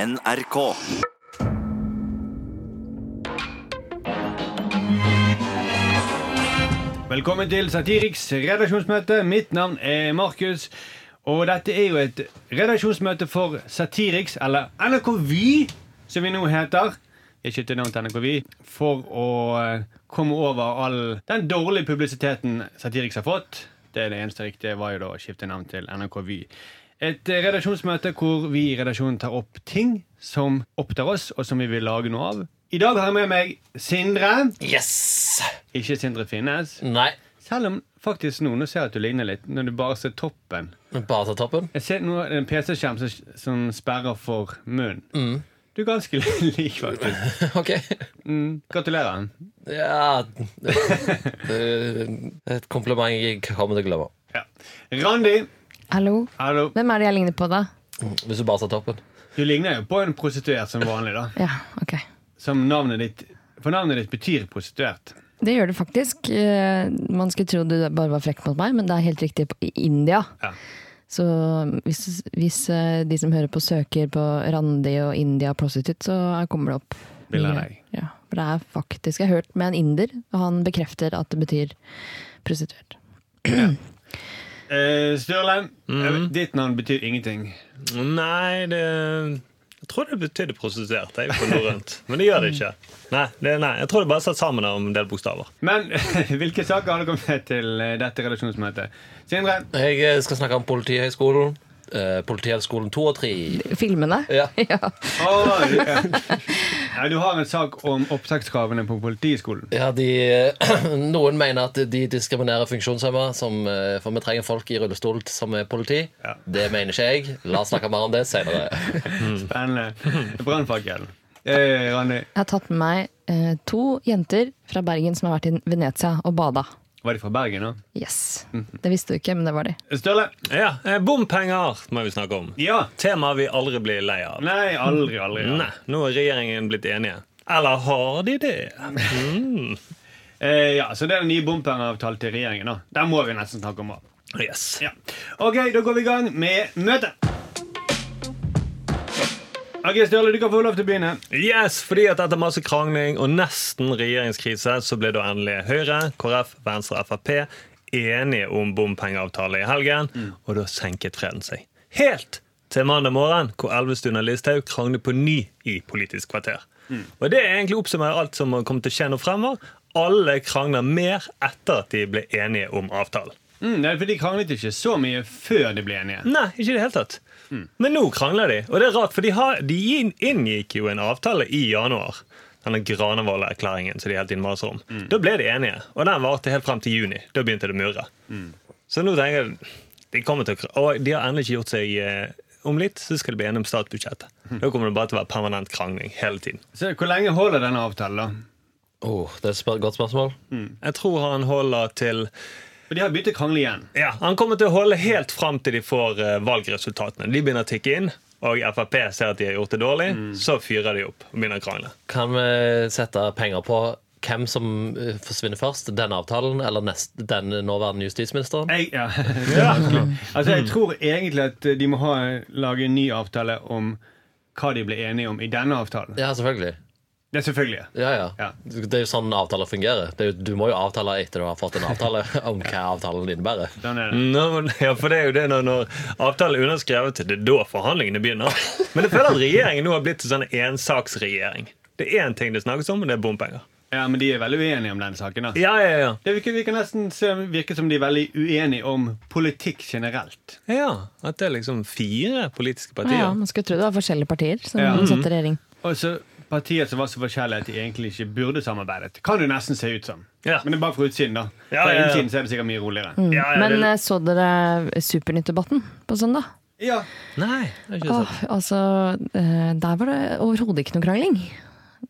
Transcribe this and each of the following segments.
NRK. Velkommen til Satiriks redaksjonsmøte. Mitt navn er Markus. Og dette er jo et redaksjonsmøte for Satiriks, eller NRK Vy, som vi nå heter. Jeg skytter navn til NRK Vy for å eh, komme over all den dårlige publisiteten Satiriks har fått. Det, er det eneste riktige var jo da å skifte navn til NRK Vy. Et eh, redaksjonsmøte hvor vi i redaksjonen tar opp ting som opptar oss, og som vi vil lage noe av. I dag har jeg med meg Sindre. Yes! Ikke Sindre Finnes. Nei. Selv om faktisk nå, nå ser jeg at du ligner litt Når du bare ser toppen Men bare ta toppen? Jeg ser nå en PC-skjerm som, som sperrer for munnen Du er ganske lik faktisk Ok. mm, Gratulerer Ja det, det, Et kompliment jeg ikke kommer til å glemme. ja. Randi, Hallo. hallo Hvem er det jeg ligner på, da? Hvis du bare tar toppen. Du ligner jo på en prostituert som vanlig da Ja, ok. Som navnet ditt For navnet ditt betyr prostituert Det gjør det faktisk. Eh, Man skulle tro du bare var frekk mot meg, men det er helt riktig på- i India. Ja. Så hvis, hvis eh, de som hører på, søker på Randi og India prostitute, så kommer det opp. Bilder av mye. deg. Ja, for det er faktisk Jeg har hørt med en inder, og han bekrefter at det betyr prostituert. eh, Sturle, eh, ditt navn betyr ingenting Nei, det Jeg tror det betydde prostituert jeg, på norrønt. Men det gjør det ikke. Nei, det, nei, Jeg tror det bare er satt sammen av en del bokstaver. Men hvilke saker har du kommet med til eh, dette redaksjonsmøtet? Sindre, Jeg eh, skal snakke om Politihøgskolen. Eh, Politihøgskolen 2 og 3. Filmene? Ja. ja. Åh, ja. Ja, du har en sak om opptakskravene på politiskolen. Ja, de, eh, noen mener at de diskriminerer funksjonshemmede, som, eh, for vi trenger folk i rullestol som er politi. Ja. Det mener ikke jeg. La oss snakke mer om det senere. Spennende. Brannfakkelen. Eh, Randi, Jeg har tatt med meg eh, to jenter fra Bergen som har vært i Venezia og bada. var de fra Bergen nå? Yes. Det visste du ikke, men det var de. Sturle? Ja, eh, Bompenger må vi snakke om. Ja. Tema vi aldri blir lei av. Nei, aldri, aldri. Nei, Nå er regjeringen blitt enige. Eller har de det? Eh, ja, så det er den nye bompengeavtalen til regjeringen. da. Den må vi nesten snakke om. også. Yes. Ja. Ok, da går vi i gang med møtet. Ok, Sturle, du kan få lov til å begynne. Yes, fordi at Etter masse krangling og nesten regjeringskrise så ble da endelig Høyre, KrF, Venstre og Frp enige om bompengeavtale i helgen. Og da senket freden seg. Helt til mandag morgen, hvor Elvestuen og Listhaug kranglet på ny i Politisk kvarter. Og Det er egentlig oppsummerer alt som kommer til å skje nå fremover. Alle krangler mer etter at de ble enige om avtalen. Mm, nei, for De kranglet ikke så mye før de ble enige. Nei, ikke i det hele tatt. Men nå krangler de. Og det er rart, for de, har, de inn- inngikk jo en avtale i januar. Denne Granavolden-erklæringen som de hele tiden maser om. Da ble de enige, og den varte helt frem til juni. Da begynte det å murre. Så nå tenker jeg de kommer til å, kra- Og de har ennå ikke gjort seg eh, om litt, så skal de bli enige om statsbudsjettet. Da kommer det bare til å være permanent krangling hele tiden. Så Hvor lenge holder denne avtalen? da? Oh, det er et spør- godt spørsmål. Jeg tror han holder til For De har begynt å krangle igjen. Ja, Han kommer til å holde helt fram til de får eh, valgresultatene. De begynner å tikke inn, og Frp ser at de har gjort det dårlig. Så fyrer de opp og begynner å krangle. Kan vi sette penger på hvem som eh, forsvinner først? Denne avtalen eller nest, den nåværende justisministeren? Jeg, ja, det er vanskelig. Altså, Mm. jeg tror egentlig at eh, de må ha, lage en ny avtale om hva de ble enige om i denne avtalen. Ja, selvfølgelig. Det er selvfølgelig. Ja, ja. Ja. Det er jo sånn avtaler fungerer. Det er jo, du må jo avtale etter du har fått en avtale om hva avtalen innebærer. Sånn er det. Nå, ja, for det er jo det når, når avtalen er underskrevet, det er da forhandlingene begynner. Men jeg føler at regjeringen nå har blitt en sånn ensaksregjering. Det er én ting det snakkes om, og det er bompenger. Ja, Men de er veldig uenige om den saken. da. Ja, ja, ja. Det virker, virker nesten som- virker som de er veldig uenige om politikk generelt. ja at det er liksom fire politiske partier. Ja, man skulle tro det var forskjellige partier som Ja. Mhm. satt i regjering. Også partier som var så forskjellige at de egentlig ikke burde samarbeidet. Kan det nesten se ut som. Ja. Men det er bare fra utsiden, da. Ja, Fra ja, ja. innsiden så er det sikkert mye roligere. Ja, ja, Men det- eh, så dere Supernytt-debatten på søndag? Ja. Nei, det er ikke sant. Åh, altså, eh, der var det overhodet ikke noe krangling.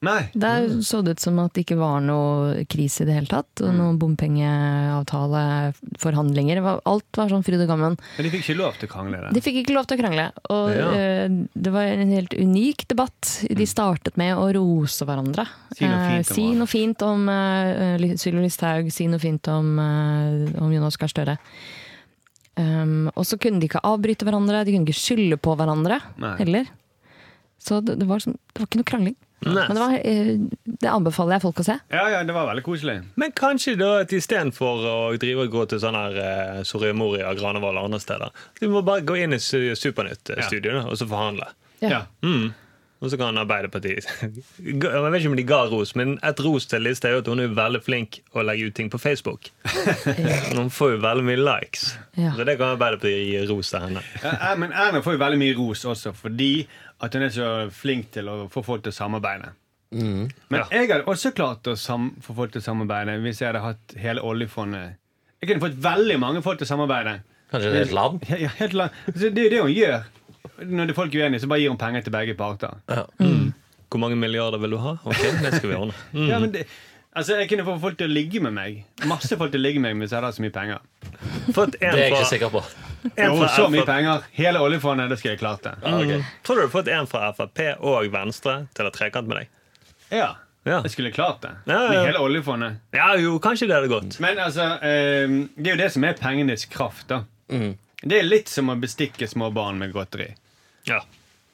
Nei. Der så det ut som at det ikke var noe krise i det hele tatt. Og noen bompengeavtaleforhandlinger. Det var- Alt var sånn fryd og gammen. Men de fikk ikke lov til å krangle. De det. fikk ikke lov til å krangle. Og Ja. eh, det var en helt unik debatt. De startet med å rose hverandre. Si noe Mm. fint om Eh, si hverandre. noe fint om eh, Ly- Sylvi Listhaug, si noe fint om, eh, om Jonas Gahr Støre. Um, og så kunne de ikke avbryte hverandre, de kunne ikke skylde på hverandre Nei. heller. Så det, det, var, sånn- det var ikke noe krangling. Nice. Men det, var, eh, det anbefaler jeg folk å se. Ja, ja, det var veldig koselig. Men kanskje da at istedenfor å drive og gå til sånn her eh, Soria Moria, Granevoll og andre steder, du må bare gå inn i Su- Supernytt-studioet og så forhandle. Ja. Ja. Og så kan Arbeiderpartiet Jeg vet ikke om de ga ros, men et ros til Listhaug er jo at hun er veldig flink å legge ut ting på Facebook. Hun får jo veldig mye likes. Ja. Så det kan Arbeiderpartiet gi ros til henne. Ja, Men Erna får jo veldig mye ros også, fordi at hun er så flink til å få folk til å samarbeide. Men Ja. jeg hadde også klart å sam få folk til å samarbeide hvis jeg hadde hatt hele oljefondet. Jeg kunne fått veldig mange folk til å samarbeide. Kanskje det er et land? Ja, ja, helt langt. Altså, det er jo det hun gjør. Når det er folk er uenige, så bare gir hun penger til begge parter. Hvor mange milliarder vil du ha? Ok, det skal vi ordne. Mm. Ja, men det, altså, jeg kunne få folk til å ligge med meg. Masse folk til å ligge med meg hvis jeg hadde hatt så mye penger. Fått en Det er jeg ikke fra, sikker på. en Jo, fra så mye FrP. penger. Hele oljefondet, det skulle jeg klart det. Mm. Tror du du har fått en fra Frp og Venstre til å ha trekant med deg? Ja. Ja. Jeg skulle klart det. Ja, ja, ja. Hele oljefondet. Ja, jo, kanskje det hadde gått. Men altså, eh, det er jo det som er pengenes kraft, da. Mm. Det er litt som å bestikke små barn med godteri. Ja.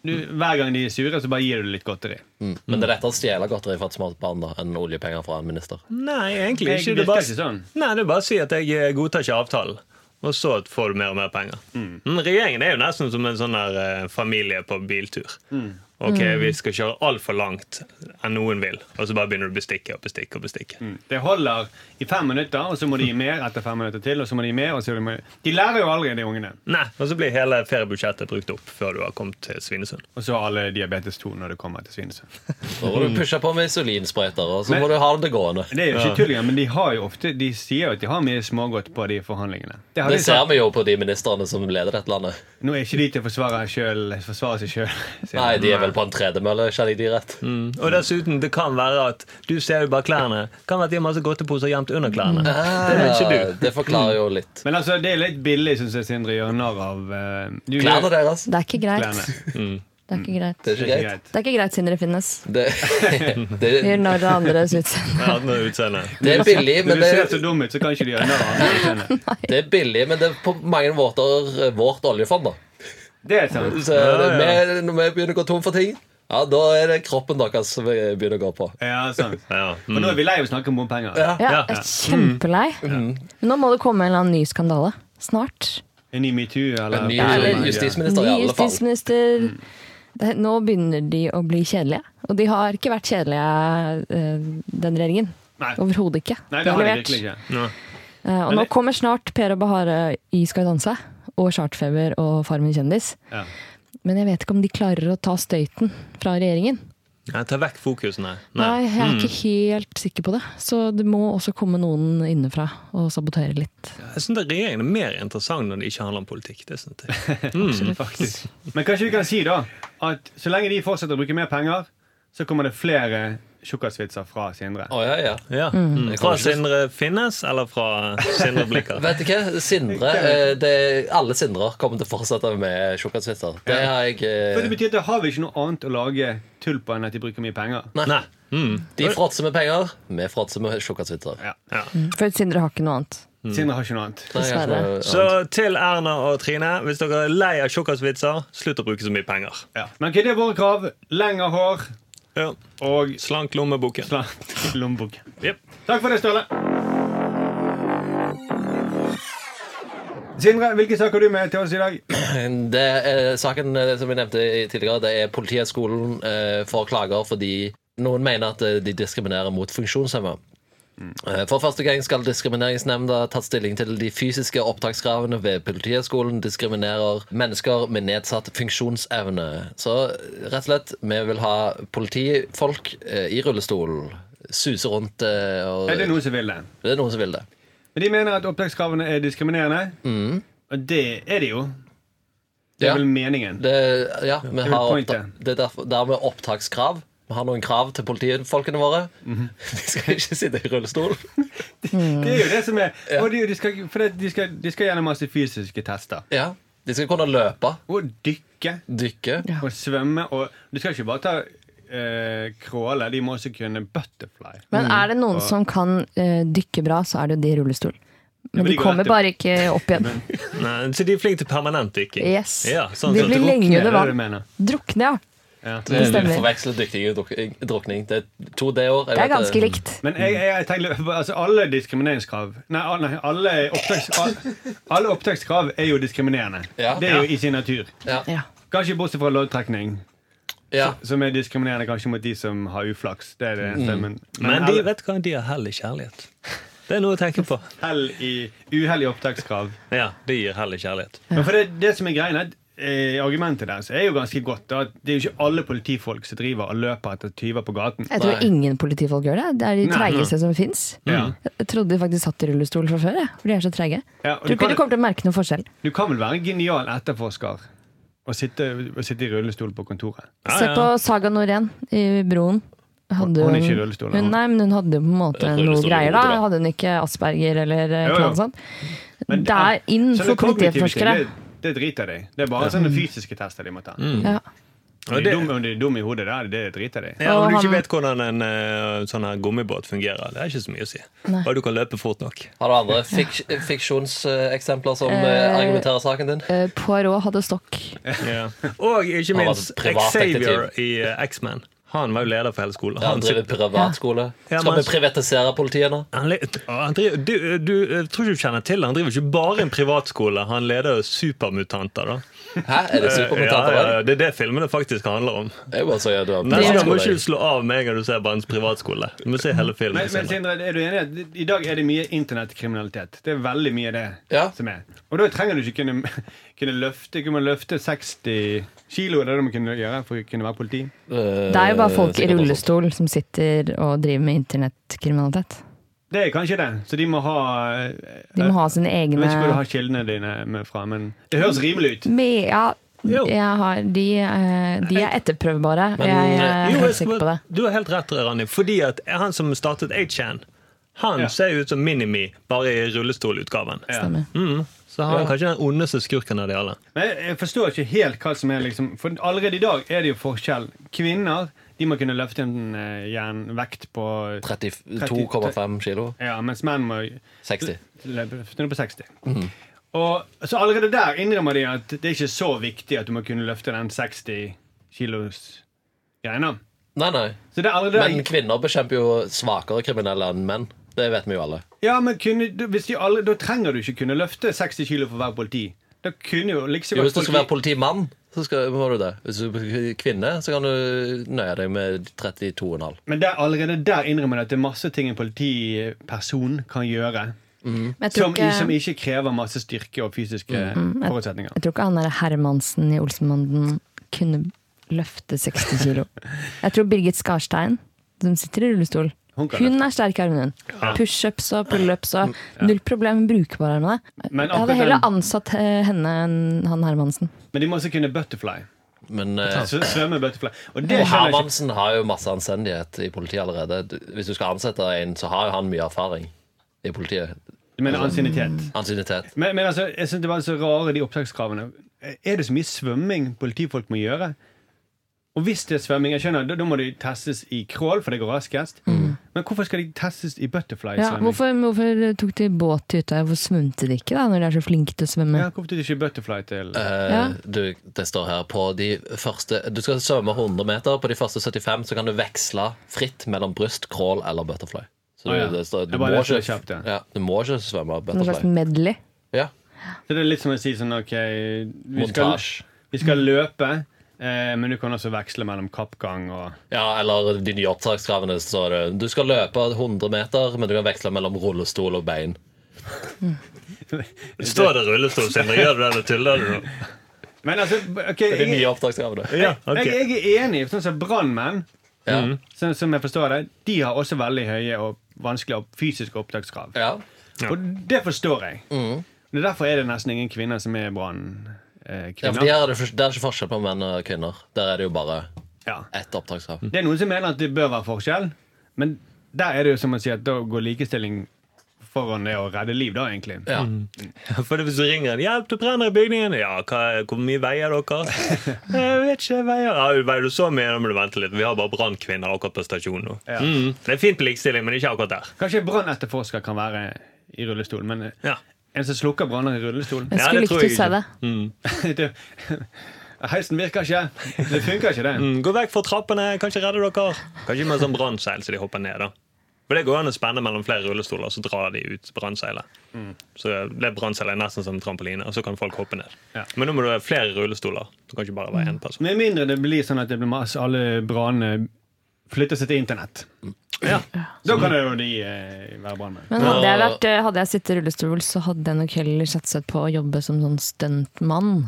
Du, hver gang de er sure, så bare gir du litt godteri. Mm. Men det er lettere å stjele godteri fra et smart barn da, enn oljepenger fra en minister. Nei, egentlig Jeg ikke. virker Det er bare, ikke sånn. Nei, det er bare å si at jeg eh, godtar ikke avtalen. Og så får du mer og mer penger. Mm, regjeringen er jo nesten som en sånn der eh, familie på biltur. Mm. Ok, vi skal kjøre altfor langt enn noen vil, og så bare begynner du å bestikke og bestikke. og bestikke. Mm. Det holder i fem minutter, og så må de gi mer etter fem minutter til. og så må De gi mer, og så må de... de lærer jo aldri, de ungene. Nei, Og så blir hele feriebudsjettet brukt opp før du har kommet til Svinesund. Og så har alle diabetes 2 når det kommer til Svinesund. Da må du pushe på med insulinsprøyter, og så Mm. Men- må du ha det gående. Det er jo ikke tull, engang, men de har jo ofte De sier jo at de har mye smågodt på de forhandlingene. Det har Det de ser sagt. vi jo på de ministrene som leder dette landet. Nå er ikke de til å forsvare, selv, forsvare seg sjøl. Nei, de er vel på en tredemølle, kjenner jeg de rett. Mm. Og dessuten, det kan være at du ser jo bare klærne. Kan være at de har masse godteposer gjemt under klærne. Mm. Det vet ikke du. Ah, Det forklarer jo litt. Men altså, det er litt billig, syns jeg Sindre gjør narr av eh, du gjør- Klærne deres, altså. Det er ikke greit. Klærne. Mm. Det er ikke greit. det er ikke greit. Det er ikke greit siden det finnes. Det, det, Vi Gjør narr av andres utseende. Ja, nå er utseendet. det er billig, Når men du ser så det, dum ut, så kan ikke de gjøre narr av andre utseende. det er billig, men det er på mange måter vårt oljefond, da. Det er sant. Så det, vi, når vi begynner å gå tom for ting, ja, da er det kroppen deres som vi begynner å gå på. Ja, sant. Ja. Og nå er vi lei av å snakke om bompenger. Ja. Ja, Ja. jeg er Mm. kjempelei. Mm. Men nå må det komme en eller annen ny skandale. Snart. En ny metoo, eller En ny Ja, eller- justisminister, i Ny alle fall. justisminister. Mm. Det- Nå begynner de å bli kjedelige. Og de har ikke vært kjedelige, eh, den regjeringen. Nei. Overhodet ikke. Nei, det har de virkelig ikke. Eh, Og Men nå det- kommer snart Per og Bahare i Skal vi danse. Og Chartfeber og Farmen kjendis. Ja. Men jeg vet ikke om de klarer å ta støyten fra regjeringen. Ja, ta vekk fokusene. Nei, jeg Mm. er ikke helt sikker på det. Så det må også komme noen innenfra og sabotere litt. Jeg synes at Regjeringen er mer interessant når det ikke handler om politikk. det synes jeg. Mm. Mm. Faktisk. Men kanskje vi kan si da at så lenge de fortsetter å bruke mer penger, så kommer det flere tjukkasvitser fra Sindre. Å, ja, ja. Ja. Mm. Fra Jeg kommer ikke- Sindre Finnes eller fra Sindre Blikker? Vet du hva? Sindre eh, det, Alle Sindrer kommer til å fortsette med tjukkasvitser. Det har jeg For det eh, betyr at da har vi ikke noe annet å lage tull på enn at de bruker mye penger. Nei. Mm. De fråtser med penger, vi fråtser med tjukkasvitser. Ja. Ja. Mm. For Sindre har ikke noe annet. Mm. Sindre har ikke noe annet. Nei, altså, jeg har ikke noe Så annet. til Erna og Trine. Hvis dere er lei av tjukkasvitser, slutt å bruke så mye penger. Ja. Men ok, det er våre krav. Lengre hår Ja. og Slank lommeboken. slant lommebok. Jep. Takk for det, Ståle. Sindre, hvilke saker har du med til oss i dag? Det er saken eh, som jeg nevnte i- tidligere, det er Politihøgskolen eh, får klager fordi noen mener at eh, de diskriminerer mot funksjonshemmede. Mm. Eh, For første gang skal Diskrimineringsnemnda tatt stilling til de fysiske opptakskravene ved Politihøgskolen diskriminerer mennesker med nedsatt funksjonsevne. Så rett og slett, vi vil ha politifolk eh, i rullestol. Suse rundt eh, og Er det noen som vil det? Det er noen som vil det. Men de mener at opptakskravene er diskriminerende. Og det er det jo. Det er Mm. Ja. vel meningen. Det, ja, vi vel har oppta pointet. det er derfor, dermed opptakskrav. Vi har noen krav til politifolkene våre. De skal ikke sitte i rullestol. Det er jo det som er. Og de, de, skal, for det, de, skal, de skal gjennom masse fysiske tester. Ja, De skal kunne løpe, Og dykke dykke. og svømme og Du skal ikke bare ta eh, crawle, de må også kunne butterfly. Men er det noen som kan eh, dykke bra, så er det jo de i rullestol. Men men de de går kommer etter. bare ikke opp igjen. Nei, så de er flinke til permanent dykking. Yes. Ja, sånn de som blir drukne, lenge det er under det du vann. mener. Drukne, ja. Ja. Det er- stemmer. Du forveksler dyktig Eh, og druk- drukning. Det er to D-år. Det er ganske likt. Men jeg, jeg, jeg tenker, altså alle diskrimineringskrav Nei, al- nei alle, opptaks, al- alle opptakskrav er jo diskriminerende. Ja. Det er jo i sin natur. Ja. Ja. Kanskje bortsett fra loddtrekning, Ja. som er diskriminerende kanskje mot de som har uflaks. Det er det eneste, men, Men de alle- vet hva, de har hell i kjærlighet. Det er noe å tenke på. hell i uheldige opptakskrav. Ja, de gir hell i kjærlighet. Men for det, det som er greien er at eh, Argumentet deres er jo ganske godt. da, at Det er jo ikke alle politifolk som driver og løper etter tyver på gaten. Jeg tror Nei. ingen politifolk gjør det. Det er de Nei, treigeste som fins. Ja. Jeg trodde de faktisk satt i rullestol fra før, jeg, for de er så treige. Ja, og Tror du, ikke kan, du kommer til å merke noen forskjell. du kan vel være en genial etterforsker og sitte, og sitte i rullestol på kontoret. Se på Saga Norén i Broen. Hadde Hun- hun er ikke i rullestol, hun, hun. nei, men hun hadde jo på en måte Jeg tror noe rullestol er hodet, greier, da. da. Hadde hun ikke Asperger eller eh, Jo, jo. noe sånt? Men- Det er inn Sånne for kognitive politiforskere. ting, Det, det driter de. Det er bare sånne fysiske tester de må ta. Om Mm. Ja. de er dum- Om de er dumme i hodet, det, er- det driter de. Ja, Og Om du ikke han- vet hvordan en eh, sånn her gummibåt fungerer, det er ikke så mye å si. Nei. Bare du kan løpe fort nok. Har du andre fik fiksjonseksempler som eh, Eh, argumenterer saken din? Eh, Poirot hadde stokk. Og Han ikke var altså minst privatdetektiv. Xavier i eh, X-Man. Han var jo leder for hele skolen. Ja, Han Han, driver sit- privatskole. Ja, Skal vi men- privatisere politiet nå? han, le- Å, han driver, du, du jeg tror ikke du kjenner til det. Han driver ikke bare en privatskole, han leder jo supermutanter. da Hæ, er det supermutanter? Eh, ja, ja, Ja, ja, Det er det filmene faktisk handler om. Jeg bare sier at du har Neste gang må du privatskole. ikke slå av med en gang du ser bare en privatskole. Du må se hele filmen. Men, men senere. Sindre, er du enig i at i dag er det mye internettkriminalitet? Det er veldig mye det Ja. som er. Og da trenger du ikke kunne, kunne løfte Kunne man løfte 60 kilo, det er det man kunne gjøre for å kunne være politi. Det er jo bare folk i Eh, sikkert også. rullestol som sitter og driver med internettkriminalitet. Det er kanskje det, så de må ha eh, De må ha sine Jeg egne vet ikke hvor du har kildene dine med fra, men det høres rimelig ut. Me- Ja, Jo. jeg har, de, eh, de er etterprøvbare. Jeg er eh, Jo, helt jeg skal sikker på bare- det. Du har helt rett, Randi. Fordi at han som startet 8chan, han Ja. ser jo ut som Minimi, bare i rullestolutgaven. Ja. Stemmer. Mm. Så han Ja. er kanskje den ondeste skurken av de alle. Men jeg- jeg forstår ikke helt hva som er liksom For allerede i dag er det jo forskjell. Kvinner de må kunne løfte en eh, jernvekt på 32,5 kilo. Ja, mens menn må 60. løfte den på 60. Mhm. Og så allerede der innrømmer de at det er ikke så viktig at du må kunne løfte den 60 kilos greina. Nei, nei. Så det er allerede der Men kvinner bekjemper jo svakere kriminelle enn menn. Det vet vi jo alle. Ja, men kunne, du- hvis de alle, Da trenger du ikke kunne løfte 60 kilo for å være politi. Da kunne jo liksom Jo, hvis du skal være politimann, så skal, må du det. Hvis du er kvinne, så kan du nøye deg med 32,5. Men der, allerede der innrømmer de at det er masse ting en politiperson kan gjøre. Men jeg tror, Som, ikke, som ikke krever masse styrke og fysiske Mm. Mm. forutsetninger. jeg tror ikke han der Hermansen i Olsenbanden kunne løfte 60 kilo. Jeg tror Birgit Skarstein, som sitter i rullestol Hun kan hun er sterk i armen. hun. Pushups og pullups og null problem. Brukbar armene. Men Jeg hadde akkurat heller den- ansatt eh, henne enn han Hermansen. Men de må også kunne butterfly. Men eh, Sv- Svømme butterfly. Og det skjønner jeg og ikke. Hermansen har jo masse anstendighet i politiet allerede. Du- Hvis du skal ansette en, så har jo han mye erfaring i politiet. Du mener ansiennitet. Ansiennitet. Men, men altså, jeg synes det var så rare, de opptakskravene. Er det så mye svømming politifolk må gjøre? Og hvis det er svømming, jeg skjønner, da, da må de testes i crawl, for det går raskest. Men hvorfor skal de testes i Mm. Ja, butterfly-svømming? hvorfor, hvorfor tok de båt til Utøya? Hvorfor svømte de ikke, da, når de er så flinke til å svømme? Ja, hvorfor tok de ikke butterfly til Eh, Ja. du, det står her på de første Du skal svømme 100 meter. På de første 75 så kan du veksle fritt mellom bryst, crawl eller butterfly. Så du, Å, ja. det står, du, Jeg bare må leste det ikke, kjapt, ja. ja, du må ikke svømme Noen slags butterfly. medley? Ja. Så det er litt som å si sånn, ok Vi skal, Montasje. vi skal løpe, eh, men du kan også veksle mellom kappgang og Ja, eller de nye opptakskravene så står det Du skal løpe 100 meter, men du kan veksle mellom rullestol og bein. Står det rullestol, Sindre? Gjør du det, eller tuller du nå? Men altså, ok Det er de jeg, nye opptakskravene. Ja, jeg, ok. jeg er enig. Sånn som brannmenn, Ja. sånn som jeg forstår det, de har også veldig høye og vanskelige opp- fysiske opptakskrav. ja. Og det forstår jeg. Mm. Det er derfor er det nesten ingen kvinner som er brannkvinner. Eh, ja for kvinner. der er, det, for- der er ikke forskjell på menn og kvinner. Der er det jo bare ja. ett opptakskrav. Det er noen som mener at det bør være forskjell, men der er det jo som man sier at da går likestilling foran det å redde liv, da, egentlig. Ja. For hvis du ringer en 'Hjelp, det brenner i bygningen'. Ja, hva, hvor mye veier dere? Jeg vet ikke, jeg veier ja, Veier du så mye, da må du vente litt. Vi har bare brannkvinner akkurat på stasjonen nå. Ja. Mm. Det er fint på likestilling, men ikke akkurat der. Kanskje en brannetterforsker kan være i rullestol, men eh, Ja. en som slukker branner i rullestol Jeg Ja, skulle det tror likt å jeg se ikke. det. det, Heisen virker ikke. Det funker ikke, det. Mm, Gå vekk fra trappene, kanskje redde dere. Kanskje med sånn brannseil så de hopper ned. da For Det går an å spenne mellom flere rullestoler, så drar de ut brannseilet. Så det brannseilet er nesten som en trampoline, og så kan folk hoppe ned. Ja. Men nå må du ha flere rullestoler. Du kan ikke bare være én person. Med mindre det blir sånn at det blir masse, alle brannene flytter seg til internett. Ja. Da kan det jo de eh, være brannmenn. Men hadde jeg, vært, eh, hadde jeg sittet i rullestol, så hadde jeg nok heller satset på å jobbe som sånn stuntmann.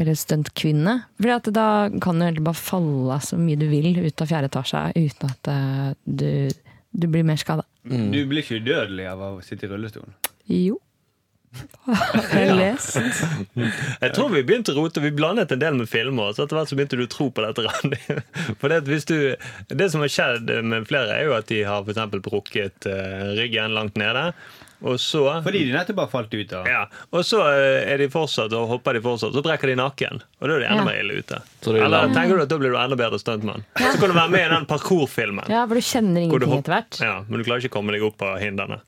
Eller stuntkvinne. For da kan du egentlig bare falle så mye du vil ut av fjerde etasje uten at eh, du, du blir mer skada. Mm. Du blir ikke udødelig av å sitte i rullestol. Jo. Har jeg lest? Jeg tror vi begynte å rote. Vi blandet en del med filmer. Så etter hvert så begynte du å tro på dette, Randi. For det, at hvis du, det som har skjedd med flere, er jo at de har for eksempel brukket eh, ryggen langt nede. Og så Fordi de nettopp har falt ut av Ja, Og så eh, er de fortsatt, og hopper de fortsatt, så brekker de nakken. Og da er de enda Ja. mer ille ute. Så det er Eller langt. tenker du at da blir du enda bedre stuntmann? Så kan du være med i den parkourfilmen. Ja, for du kjenner hvor du ingenting hop- etter hvert. Ja, men du klarer ikke å komme deg opp av hindrene.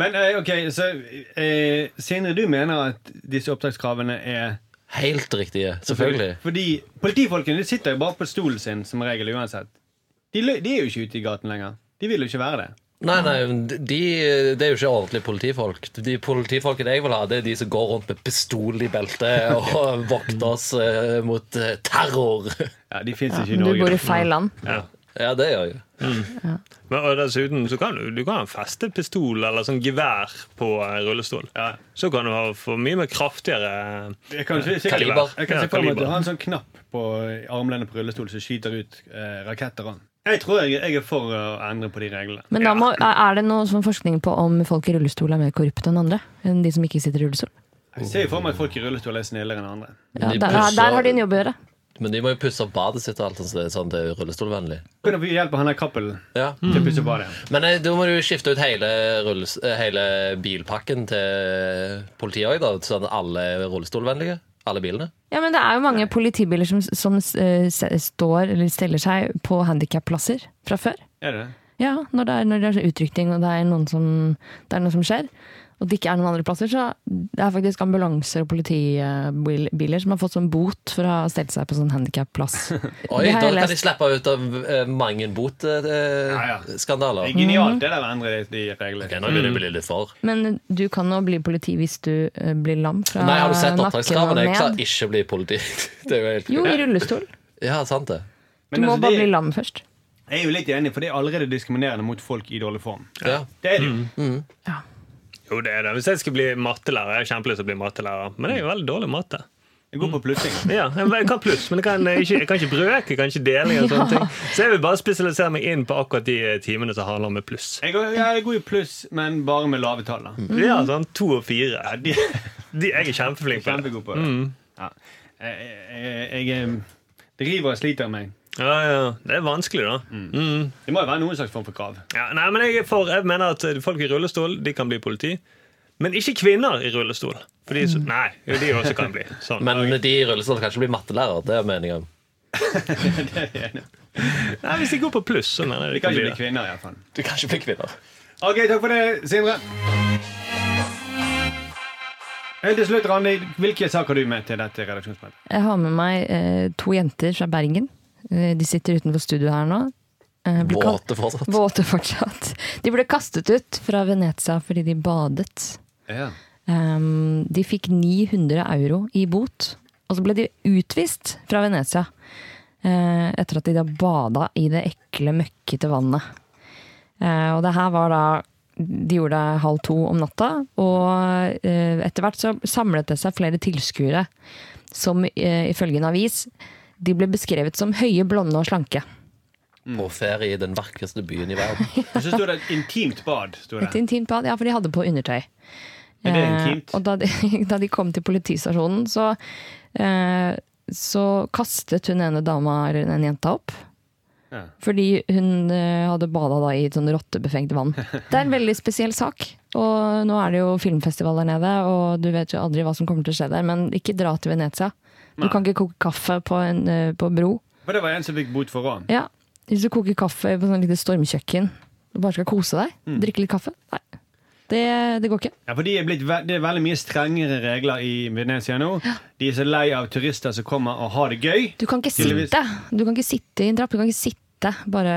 Men eh, ok, så eh, Sindre, du mener at disse opptakskravene er Helt riktige, selvfølgelig. Fordi politifolkene de sitter jo bare på stolen sin som regel uansett. De, lø- de er jo ikke ute i gaten lenger. De vil jo ikke være det. Nei, nei, men de, det er jo ikke ordentlige politifolk. De politifolkene jeg vil ha, det er de som går rundt med pistol i beltet og vokter oss eh, mot eh, terror. Ja, De fins ikke i Men du Norge. bor da. i feil land. Ja, det gjør jeg. Men, og dessuten så kan du, du kan feste pistol eller sånn gevær på eh, rullestol. Ja. Så kan du ha for mye mer kraftigere Jeg kan, se- se- Kaliber. Jeg kan Ja, se for meg at kaliber. du har en sånn knapp på armlenet på rullestol som skyter ut eh, raketter. og- Jeg tror jeg, jeg er for å endre på de reglene. Men da må, er det noe sånn forskning på om folk i rullestol er mer korrupte enn andre? Enn de som ikke sitter i rullestol? Jeg ser jo for meg at folk i rullestol er snillere enn andre. Ja, De der, der, pusser- har de en jobb å gjøre. Men de må jo pusse opp badet sitt og alt sånt, så det er sånn det er rullestolvennlig. Kan du få hjelp av han der Cappelen Ja. til å pusse opp badet? igjen? Men eh, da må du jo skifte ut hele, rulles, eh, hele bilpakken til politiet òg, da. Sånn at alle er rullestolvennlige. Alle bilene. Ja, men Det er jo mange politibiler som, som eh, se- står eller steller seg på handikapplasser fra før. Er det det? Ja, når det er, når det er utrykning og det er, noen som, det er noe som skjer, og det ikke er noen andre plasser, så det er faktisk ambulanser og politibiler som har fått sånn bot for å ha stelt seg på sånn handikapplass. Oi, Det har da jeg kan de lest. slippe ut av eh, mange Ja, ja. Det botskandaler. Eh, er genialt, det der å endre de reglene. Ok, nå begynner jeg å bli litt for. Men du kan jo bli politi hvis du eh, blir lam fra Nei, har du sett Eh, nakken og opptakskravene? Jeg sa ned. ikke bli politi. Det er jo helt Jo, i rullestol. Ja, sant det. Du Men må altså, bare det- bli lam først. Jeg er jo litt enig, for det er allerede diskriminerende mot folk i dårlig form. Ja. Det er det jo. Ja. Jo, det er det. Hvis jeg skal bli mattelærer, jeg har kjempelyst til å bli mattelærer, men jeg er jo veldig dårlig i matte. Jeg går på plussing. Ja, jeg jeg kan pluss, men jeg kan eh, ikke, jeg kan ikke brøk, jeg kan ikke deling og sånne ting. Så jeg vil bare spesialisere meg inn på akkurat de eh, timene som handler om pluss. Jeg går, jeg er god i pluss, men bare med lave tall. da. Ja, sånn to og fire. De, de, jeg er kjempeflink på det. Kjempegod på det. Ja. Jeg, jeg, jeg det river og sliter meg. Ja, ja. Det er vanskelig, da. Det må jo være noen slags form for krav. Ja, nei, men jeg, er for, jeg mener at folk i rullestol de kan bli politi. Men ikke kvinner i rullestol. For de, er så- nei, jo, de også kan bli sånn. Men de i rullestol kan ikke bli mattelærer. Det er meningen. Nei, hvis de går på pluss, så mener Vi jeg de kan kan ikke bli bli det. kvinner, iallfall. Du kan ikke bli kvinner. Ok, takk for det, Sindre. Helt til slutt, Randi, hvilke saker har du med til dette redaksjonsmøtet? Jeg har med meg eh, to jenter fra Bergen. Eh, de sitter utenfor studio her nå. Eh, ble kalt- Våte fortsatt. Våte fortsatt. De ble kastet ut fra Venezia fordi de badet. Ja. Ehm, de fikk 900 euro i bot, og så ble de utvist fra Venezia. eh, etter at de da bada i det ekle, møkkete vannet. Eh, og det her var da De gjorde det halv to om natta, og eh, etter hvert så samlet det seg flere tilskuere som eh, ifølge en avis de ble beskrevet som høye, blonde og slanke. På ferie i den vakreste byen i verden. Og så sto det et intimt bad. Sto Et det. intimt bad, ja, for de hadde på undertøy. Er det Eh, intimt? og da de, da de kom til politistasjonen, så, eh, så kastet hun ene dama, eller den jenta, opp. Ja. Fordi hun eh, hadde bada da i et sånn rottebefengt vann. Det er en veldig spesiell sak. Og nå er det jo filmfestival der nede, og du vet jo aldri hva som kommer til å skje der. Men ikke dra til Venezia. Du kan ikke koke kaffe på en eh, på bro. For det var en som fikk bot for ran. Ja, Mm. Hvis du koker kaffe på sånn lite stormkjøkken og bare skal kose deg, drikke litt kaffe Nei. Det, det går ikke. Ja, for de er blitt, ve- Det er veldig mye strengere regler i Venezia nå. De er så lei av turister som kommer og har det gøy. Du kan ikke Tydeligvis. sitte Du kan ikke sitte i en trapp. Du kan ikke sitte bare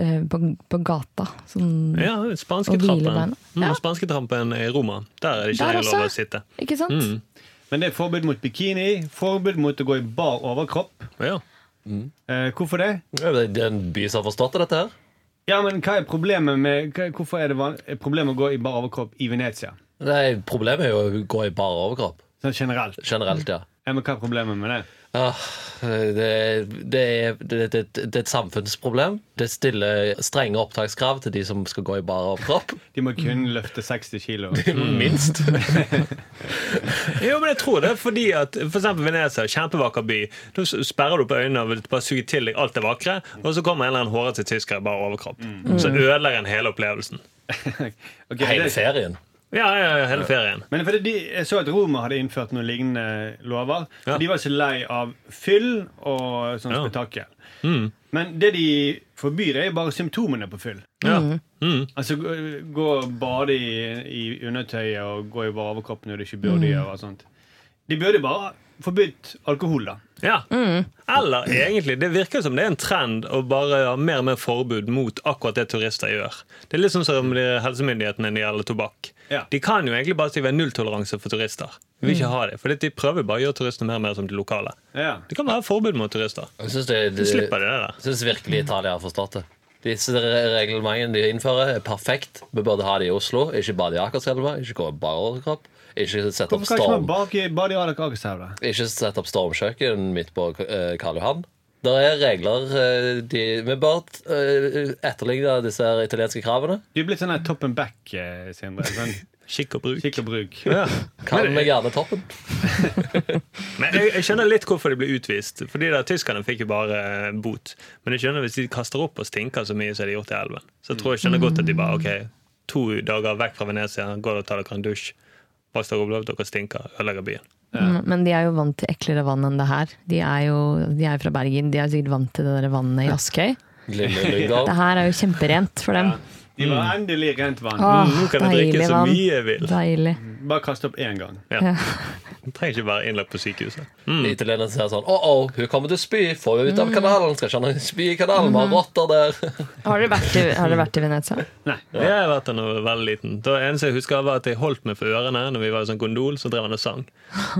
eh, på, på gata. Sånn, Ja, Og hvile beina. spansketrappen. Mm, Ja. spansketrappen i Roma. Der er det ikke Der lenger lov også. å sitte. Mm, Ikke sant? Men det er forbud mot bikini, forbud mot å gå i bar overkropp. Ja. Eh, hvorfor det? Ja, Det det er en by som har forstått dette her. Ja, men hva er problemet med hva, Hvorfor er det van, er problemet å gå i bar overkropp i Venezia? Nei, Problemet er jo å gå i bar overkropp. Sånn generelt. Generelt, ja. Ja, men hva er problemet med det? Ah, det, det, er, det, det, det er et samfunnsproblem. Det stiller strenge opptakskrav til de som skal gå i bar overkropp. De må Mm. kun løfte 60 kilo. Minst. Jo, men jeg tror det er fordi at for eksempel Venezia, kjempevakker by. Da s- sperrer du på øynene og vil bare suge til deg alt det vakre, og så kommer en eller annen hårete tysker i bar overkropp. Så Mm. ødelegger en hele opplevelsen. Ok, Hele det, ferien. Ja, ja, ja, hele ferien. men fordi de, Jeg så at Roma hadde innført noen lignende lover. Ja. Og de var så lei av fyll og sånn Ja. Mm. spetakkel. Men det de forbyr, er jo bare symptomene på fyll. Ja. Mm. Mm. Altså gå- gå og bade i, i undertøyet og gå i bare overkropp når du ikke burde Mm. gjøre og sånt. De burde bare forbudt alkohol, da. ja. Eller egentlig, det virker som det er en trend å bare ha mer og mer forbud mot akkurat det turister gjør. Det er litt sånn som de helsemyndighetene når det gjelder tobakk. Ja. De kan jo egentlig bare si vi har nulltoleranse for turister. Vi vil ikke ha det, for de prøver bare å gjøre turistene mer og mer som de lokale. Ja. Det kan være forbud mot turister. Jeg syns det, Så det, slipper de det der. jeg synes virkelig Italia har forstått det. Disse re- reglementene de innfører, er perfekt. Vi burde ha det i Oslo, ikke bade i Akerselva. Ikke gå i bar overkropp. Ikke sette opp Hvorfor kan ikke man storm. bake bade i Adak Akerselv, da? Ikke sette opp stormkjøkken midt på eh, Karl Johan. Det er regler eh, de, Vi bør eh, etterligne disse her italienske kravene. Du er blitt sånn her top and back, eh, Sindre. Sånn Kikk og bruk. kikk og bruk. Ja. Kall meg gjerne toppen. Men jeg, jeg skjønner litt hvorfor de ble utvist. For de der tyskerne fikk jo bare eh, bot. Men jeg skjønner hvis de kaster opp og stinker så mye som de har gjort i elven, så jeg tror jeg skjønner godt at de bare OK, to dager vekk fra Venezia, går og tar dere en dusj. Vask dere opp, dere stinker, ødelegger byen. Mm, Men de er jo vant til eklere vann enn det her. De er jo de er fra Bergen. De er sikkert vant til det der vannet i Askøy. Lille Lyngdal. Det her er jo kjemperent for dem. De var endelig rent vann. Mm. Åh, Mm, Nå kan jeg drikke deilig så vann. mye jeg vil. Deilig. Bare kaste opp én gang. Ja. Jeg trenger ikke være innlagt på sykehuset. Mm. Italienerne sier sånn Å, å, hun kommer til å spy. Få henne ut Mm. av kanalen. Skal ikke ha noen spy i kanalen. Vi har Mm-hmm. rotter der. Har dere vært, i- har dere vært i Venezia? Jeg har vært der da jeg var veldig liten. Det eneste jeg husker, var at jeg holdt meg for ørene når vi var i sånn gondol, så drev han og sang.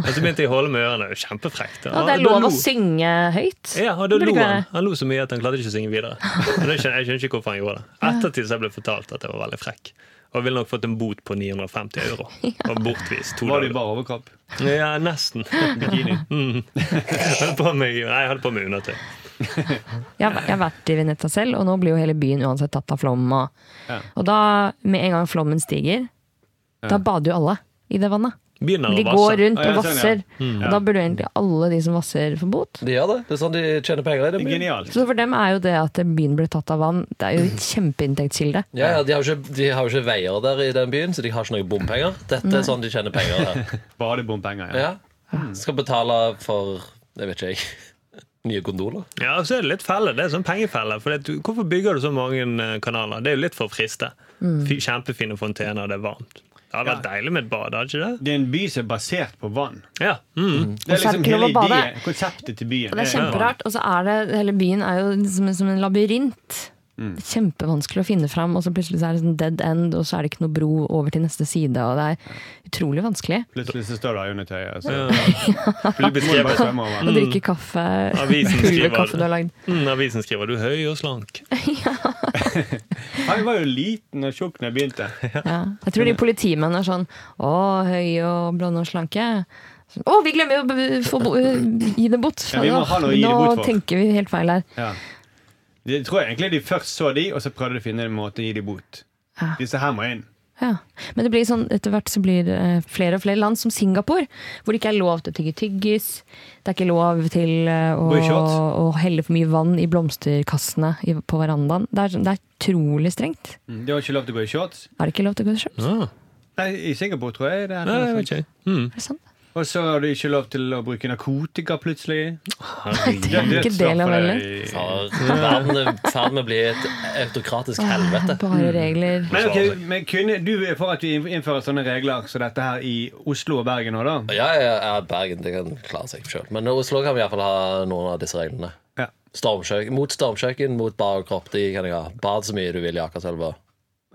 Og så begynte jeg å holde med ørene. Det var Kjempefrekt. Ja, det er Da lov lo- å synge høyt. Ja, og da Burde lo ikke være han. Han lo så mye at han klarte ikke å synge videre. Men jeg skjønner, jeg skjønner ikke hvorfor han gjorde det. Ettertid så jeg ble fortalt at jeg var veldig frekk. Og ville nok fått en bot på 950 euro. Og bortvist to Var det dager. bare overkropp? Ja, nesten. Bikini? Jeg hadde på meg, nei, jeg hadde på meg undertøy. Jeg, har- jeg har vært i Veneta selv, og nå blir jo hele byen uansett tatt av flommen. Og, Ja. og da, med en gang flommen stiger, da bader jo alle i det vannet. Begynner De å vasse. går rundt Ja, og jeg ser vasser. det, Og da burde jo egentlig alle de som vasser, få bot. De gjør det. Det er sånn de tjener penger. i det. Genialt. Så for dem er jo det at byen ble tatt av vann, det er jo et kjempeinntektskilde. Ja, ja, de, har jo ikke, de har jo ikke veier der i den byen, så de har ikke noe bompenger. Dette er sånn de tjener penger der. Badebompenger, ja. Ja. Skal betale for Jeg vet ikke, jeg. Nye gondoler. Ja, og så er det litt felle. Det er sånn pengefelle. For det, du- hvorfor bygger du så mange eh, kanaler? Det er jo litt for å friste. Fy- Kjempefine fontener, og det er varmt. Det hadde vært deilig med et bad, hadde ikke det? Det er en by som er basert på vann. Ja. Mm. Det er så er det liksom ikke hele lov å bade. ideen, konseptet til byen. Og det er vann. kjemperart. Og så er det, hele byen er jo som, som en labyrint. Mm. Kjempevanskelig å finne fram, og så plutselig så er det sånn dead end, og så er det ikke noe bro over til neste side, og det er utrolig vanskelig. Plutselig så står du her under tøyet. Så Vil du må du bare beskrive svømme over. Å drikke kaffe, Avisen pulver skriver- kaffe du har lagd. mm, Avisen skriver 'du er høy og slank'. Han var jo liten og tjukk da jeg begynte. Ja. Jeg tror de politimenn er sånn Å, høye og blonde og slanke. Sånn, Å, vi glemmer jo å b- få bo gi det bort! Ja, vi må ha noe å gi det Nå bort for. tenker vi helt feil her. Ja. Det tror jeg egentlig de først så de, og så prøvde de å finne en måte å gi de bot. Ja. Disse her må inn. Ja. Men det blir sånn, etter hvert så blir det eh, flere og flere land, som Singapore, hvor det ikke er lov til å tygge tyggis. Det er ikke lov til eh, Gå i å, shorts. å helle for mye vann i blomsterkassene i- på verandaen. Det er, sånn- det er utrolig strengt. De har ikke lov til å gå i shorts. Er det ikke lov til å gå i shorts? Ah. Nei, I Singapore tror jeg det er Nei, jeg vet ikke. Mm. Er det sant? Og så har du ikke lov til å bruke narkotika plutselig. Herregud. Det er ikke del av dødsstraff veldig. er- Far, Verden er i ferd med å bli et autokratisk helvete. Bare regler. Men, ok, men kunne du er for at vi innfører sånne regler som dette her i Oslo og Bergen òg, da? Ja, ja, ja, Bergen det kan klare seg sjøl. Men Oslo kan vi iallfall ha noen av disse reglene. Ja. Stormkjøkken, mot stormkjøkken, mot bar og kropp. De kan jeg ha. Bad så mye du vil i Akerselva.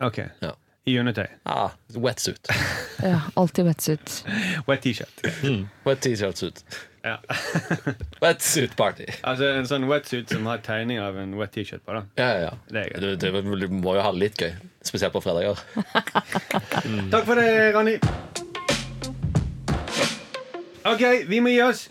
Ok. Ja. I undertøy. Ah, wetsuit. Ja, alltid wetsuit. Wet T-shirt. Wet T-shirt-suit. Ja. Wetsuit-party. Altså en sånn wetsuit som har tegning av en wet T-shirt på, da. Ja, ja, ja. Det er Du, du, du må jo ha det litt gøy. Spesielt på fredager. Mm. Takk for det, Ronny. Ok, vi må gi oss.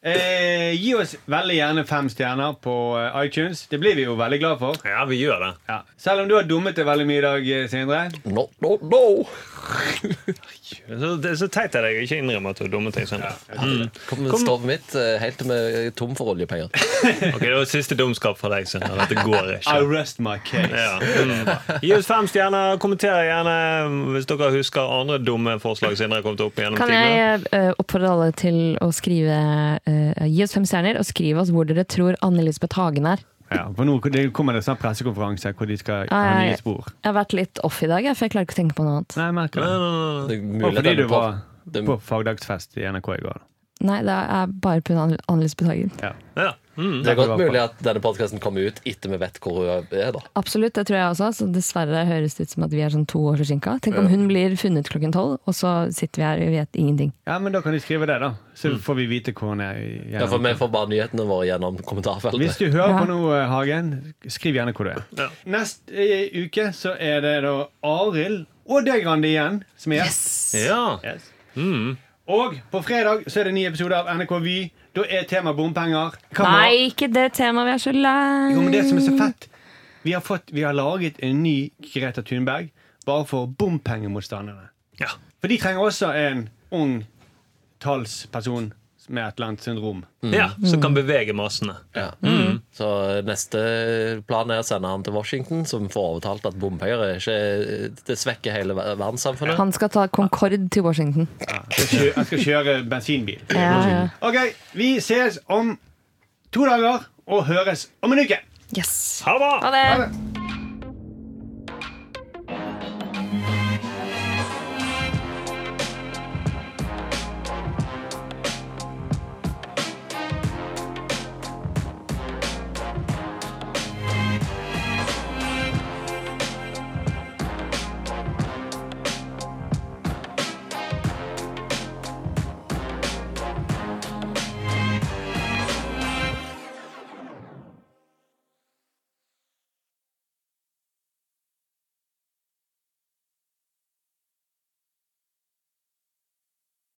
Eh, gi oss veldig gjerne fem stjerner på eh, iTunes. Det blir vi jo veldig glad for. Ja, vi gjør det. Ja. Selv om du har dummet deg veldig mye i dag, eh, Sindre. No, no, no! Så, det er så teit av deg å ikke innrømme at du er dumme ting. Sindre. Kom, Stovet mitt eh, helt med tom for oljepenger. Ok, Det var siste dumskap fra deg. Sindre. Dette går ikke. I rest my case. Ja. mm. Gi oss fem stjerner. Kommenter gjerne hvis dere husker andre dumme forslag Sindre har kommet opp gjennom Kan tidene. jeg eh, oppfordre alle til å skrive eh, Gi oss fem stjerner, og skriv oss hvor dere tror Anne Elisabeth Hagen er. Ja, for nå det kommer det en sånn pressekonferanse hvor de skal ha Nei. nye spor. Jeg har vært litt off i dag, jeg, for jeg klarer ikke å tenke på noe annet. Nei, jeg merker Nei, det. nei, nei, nei. Det er Mm. mulig Og at fordi denne du var Mm. pod- det- på fagdagsfest i NRK i går. Nei, det er bare pga. Anne Elisabeth Hagen. Ja. Ja. Mm. Det er godt Derfor var mulig at denne podkasten kommer ut etter vi vet hvor hun er. da Absolutt, det tror jeg også. Så dessverre høres det ut som at vi er sånn to år forsinka. Tenk om hun blir funnet klokken tolv, og så sitter vi her og vet ingenting. ja, men da kan de skrive det, da. Så får vi vite hvor hun er. i- Mm. ja, for Vi får bare nyhetene våre gjennom kommentarfeltet. Hvis du hører Ja. på noe, Hagen, skriv gjerne hvor du er. Ja. Neste eh, uke så er det da Arild og deg, Randi, igjen som er gjest. ja. Yes. Mm. Og på fredag så er det ny episode av NRK Vy. Da er tema bompenger. Hva med- Nei, ikke det temaet, vi er så lei! Jo, men det som er så fett vi har, fått, vi har laget en ny Greta Thunberg bare for bompengemotstanderne. ja. For de trenger også en ung talsperson med et eller annet syndrom. ja. Som kan bevege massene. Ja. Mm. Mm. Så eh, neste plan er å sende han til Washington, som får overtalt at bompenger er ikke Det svekker hele ver- verdenssamfunnet. Han skal ta Concorde til Washington. Jeg skal kjø- jeg skal kjøre bensinbil. Ja, ja. Ok, vi ses om to dager og høres om en uke. Yes. Ha det! Ha det!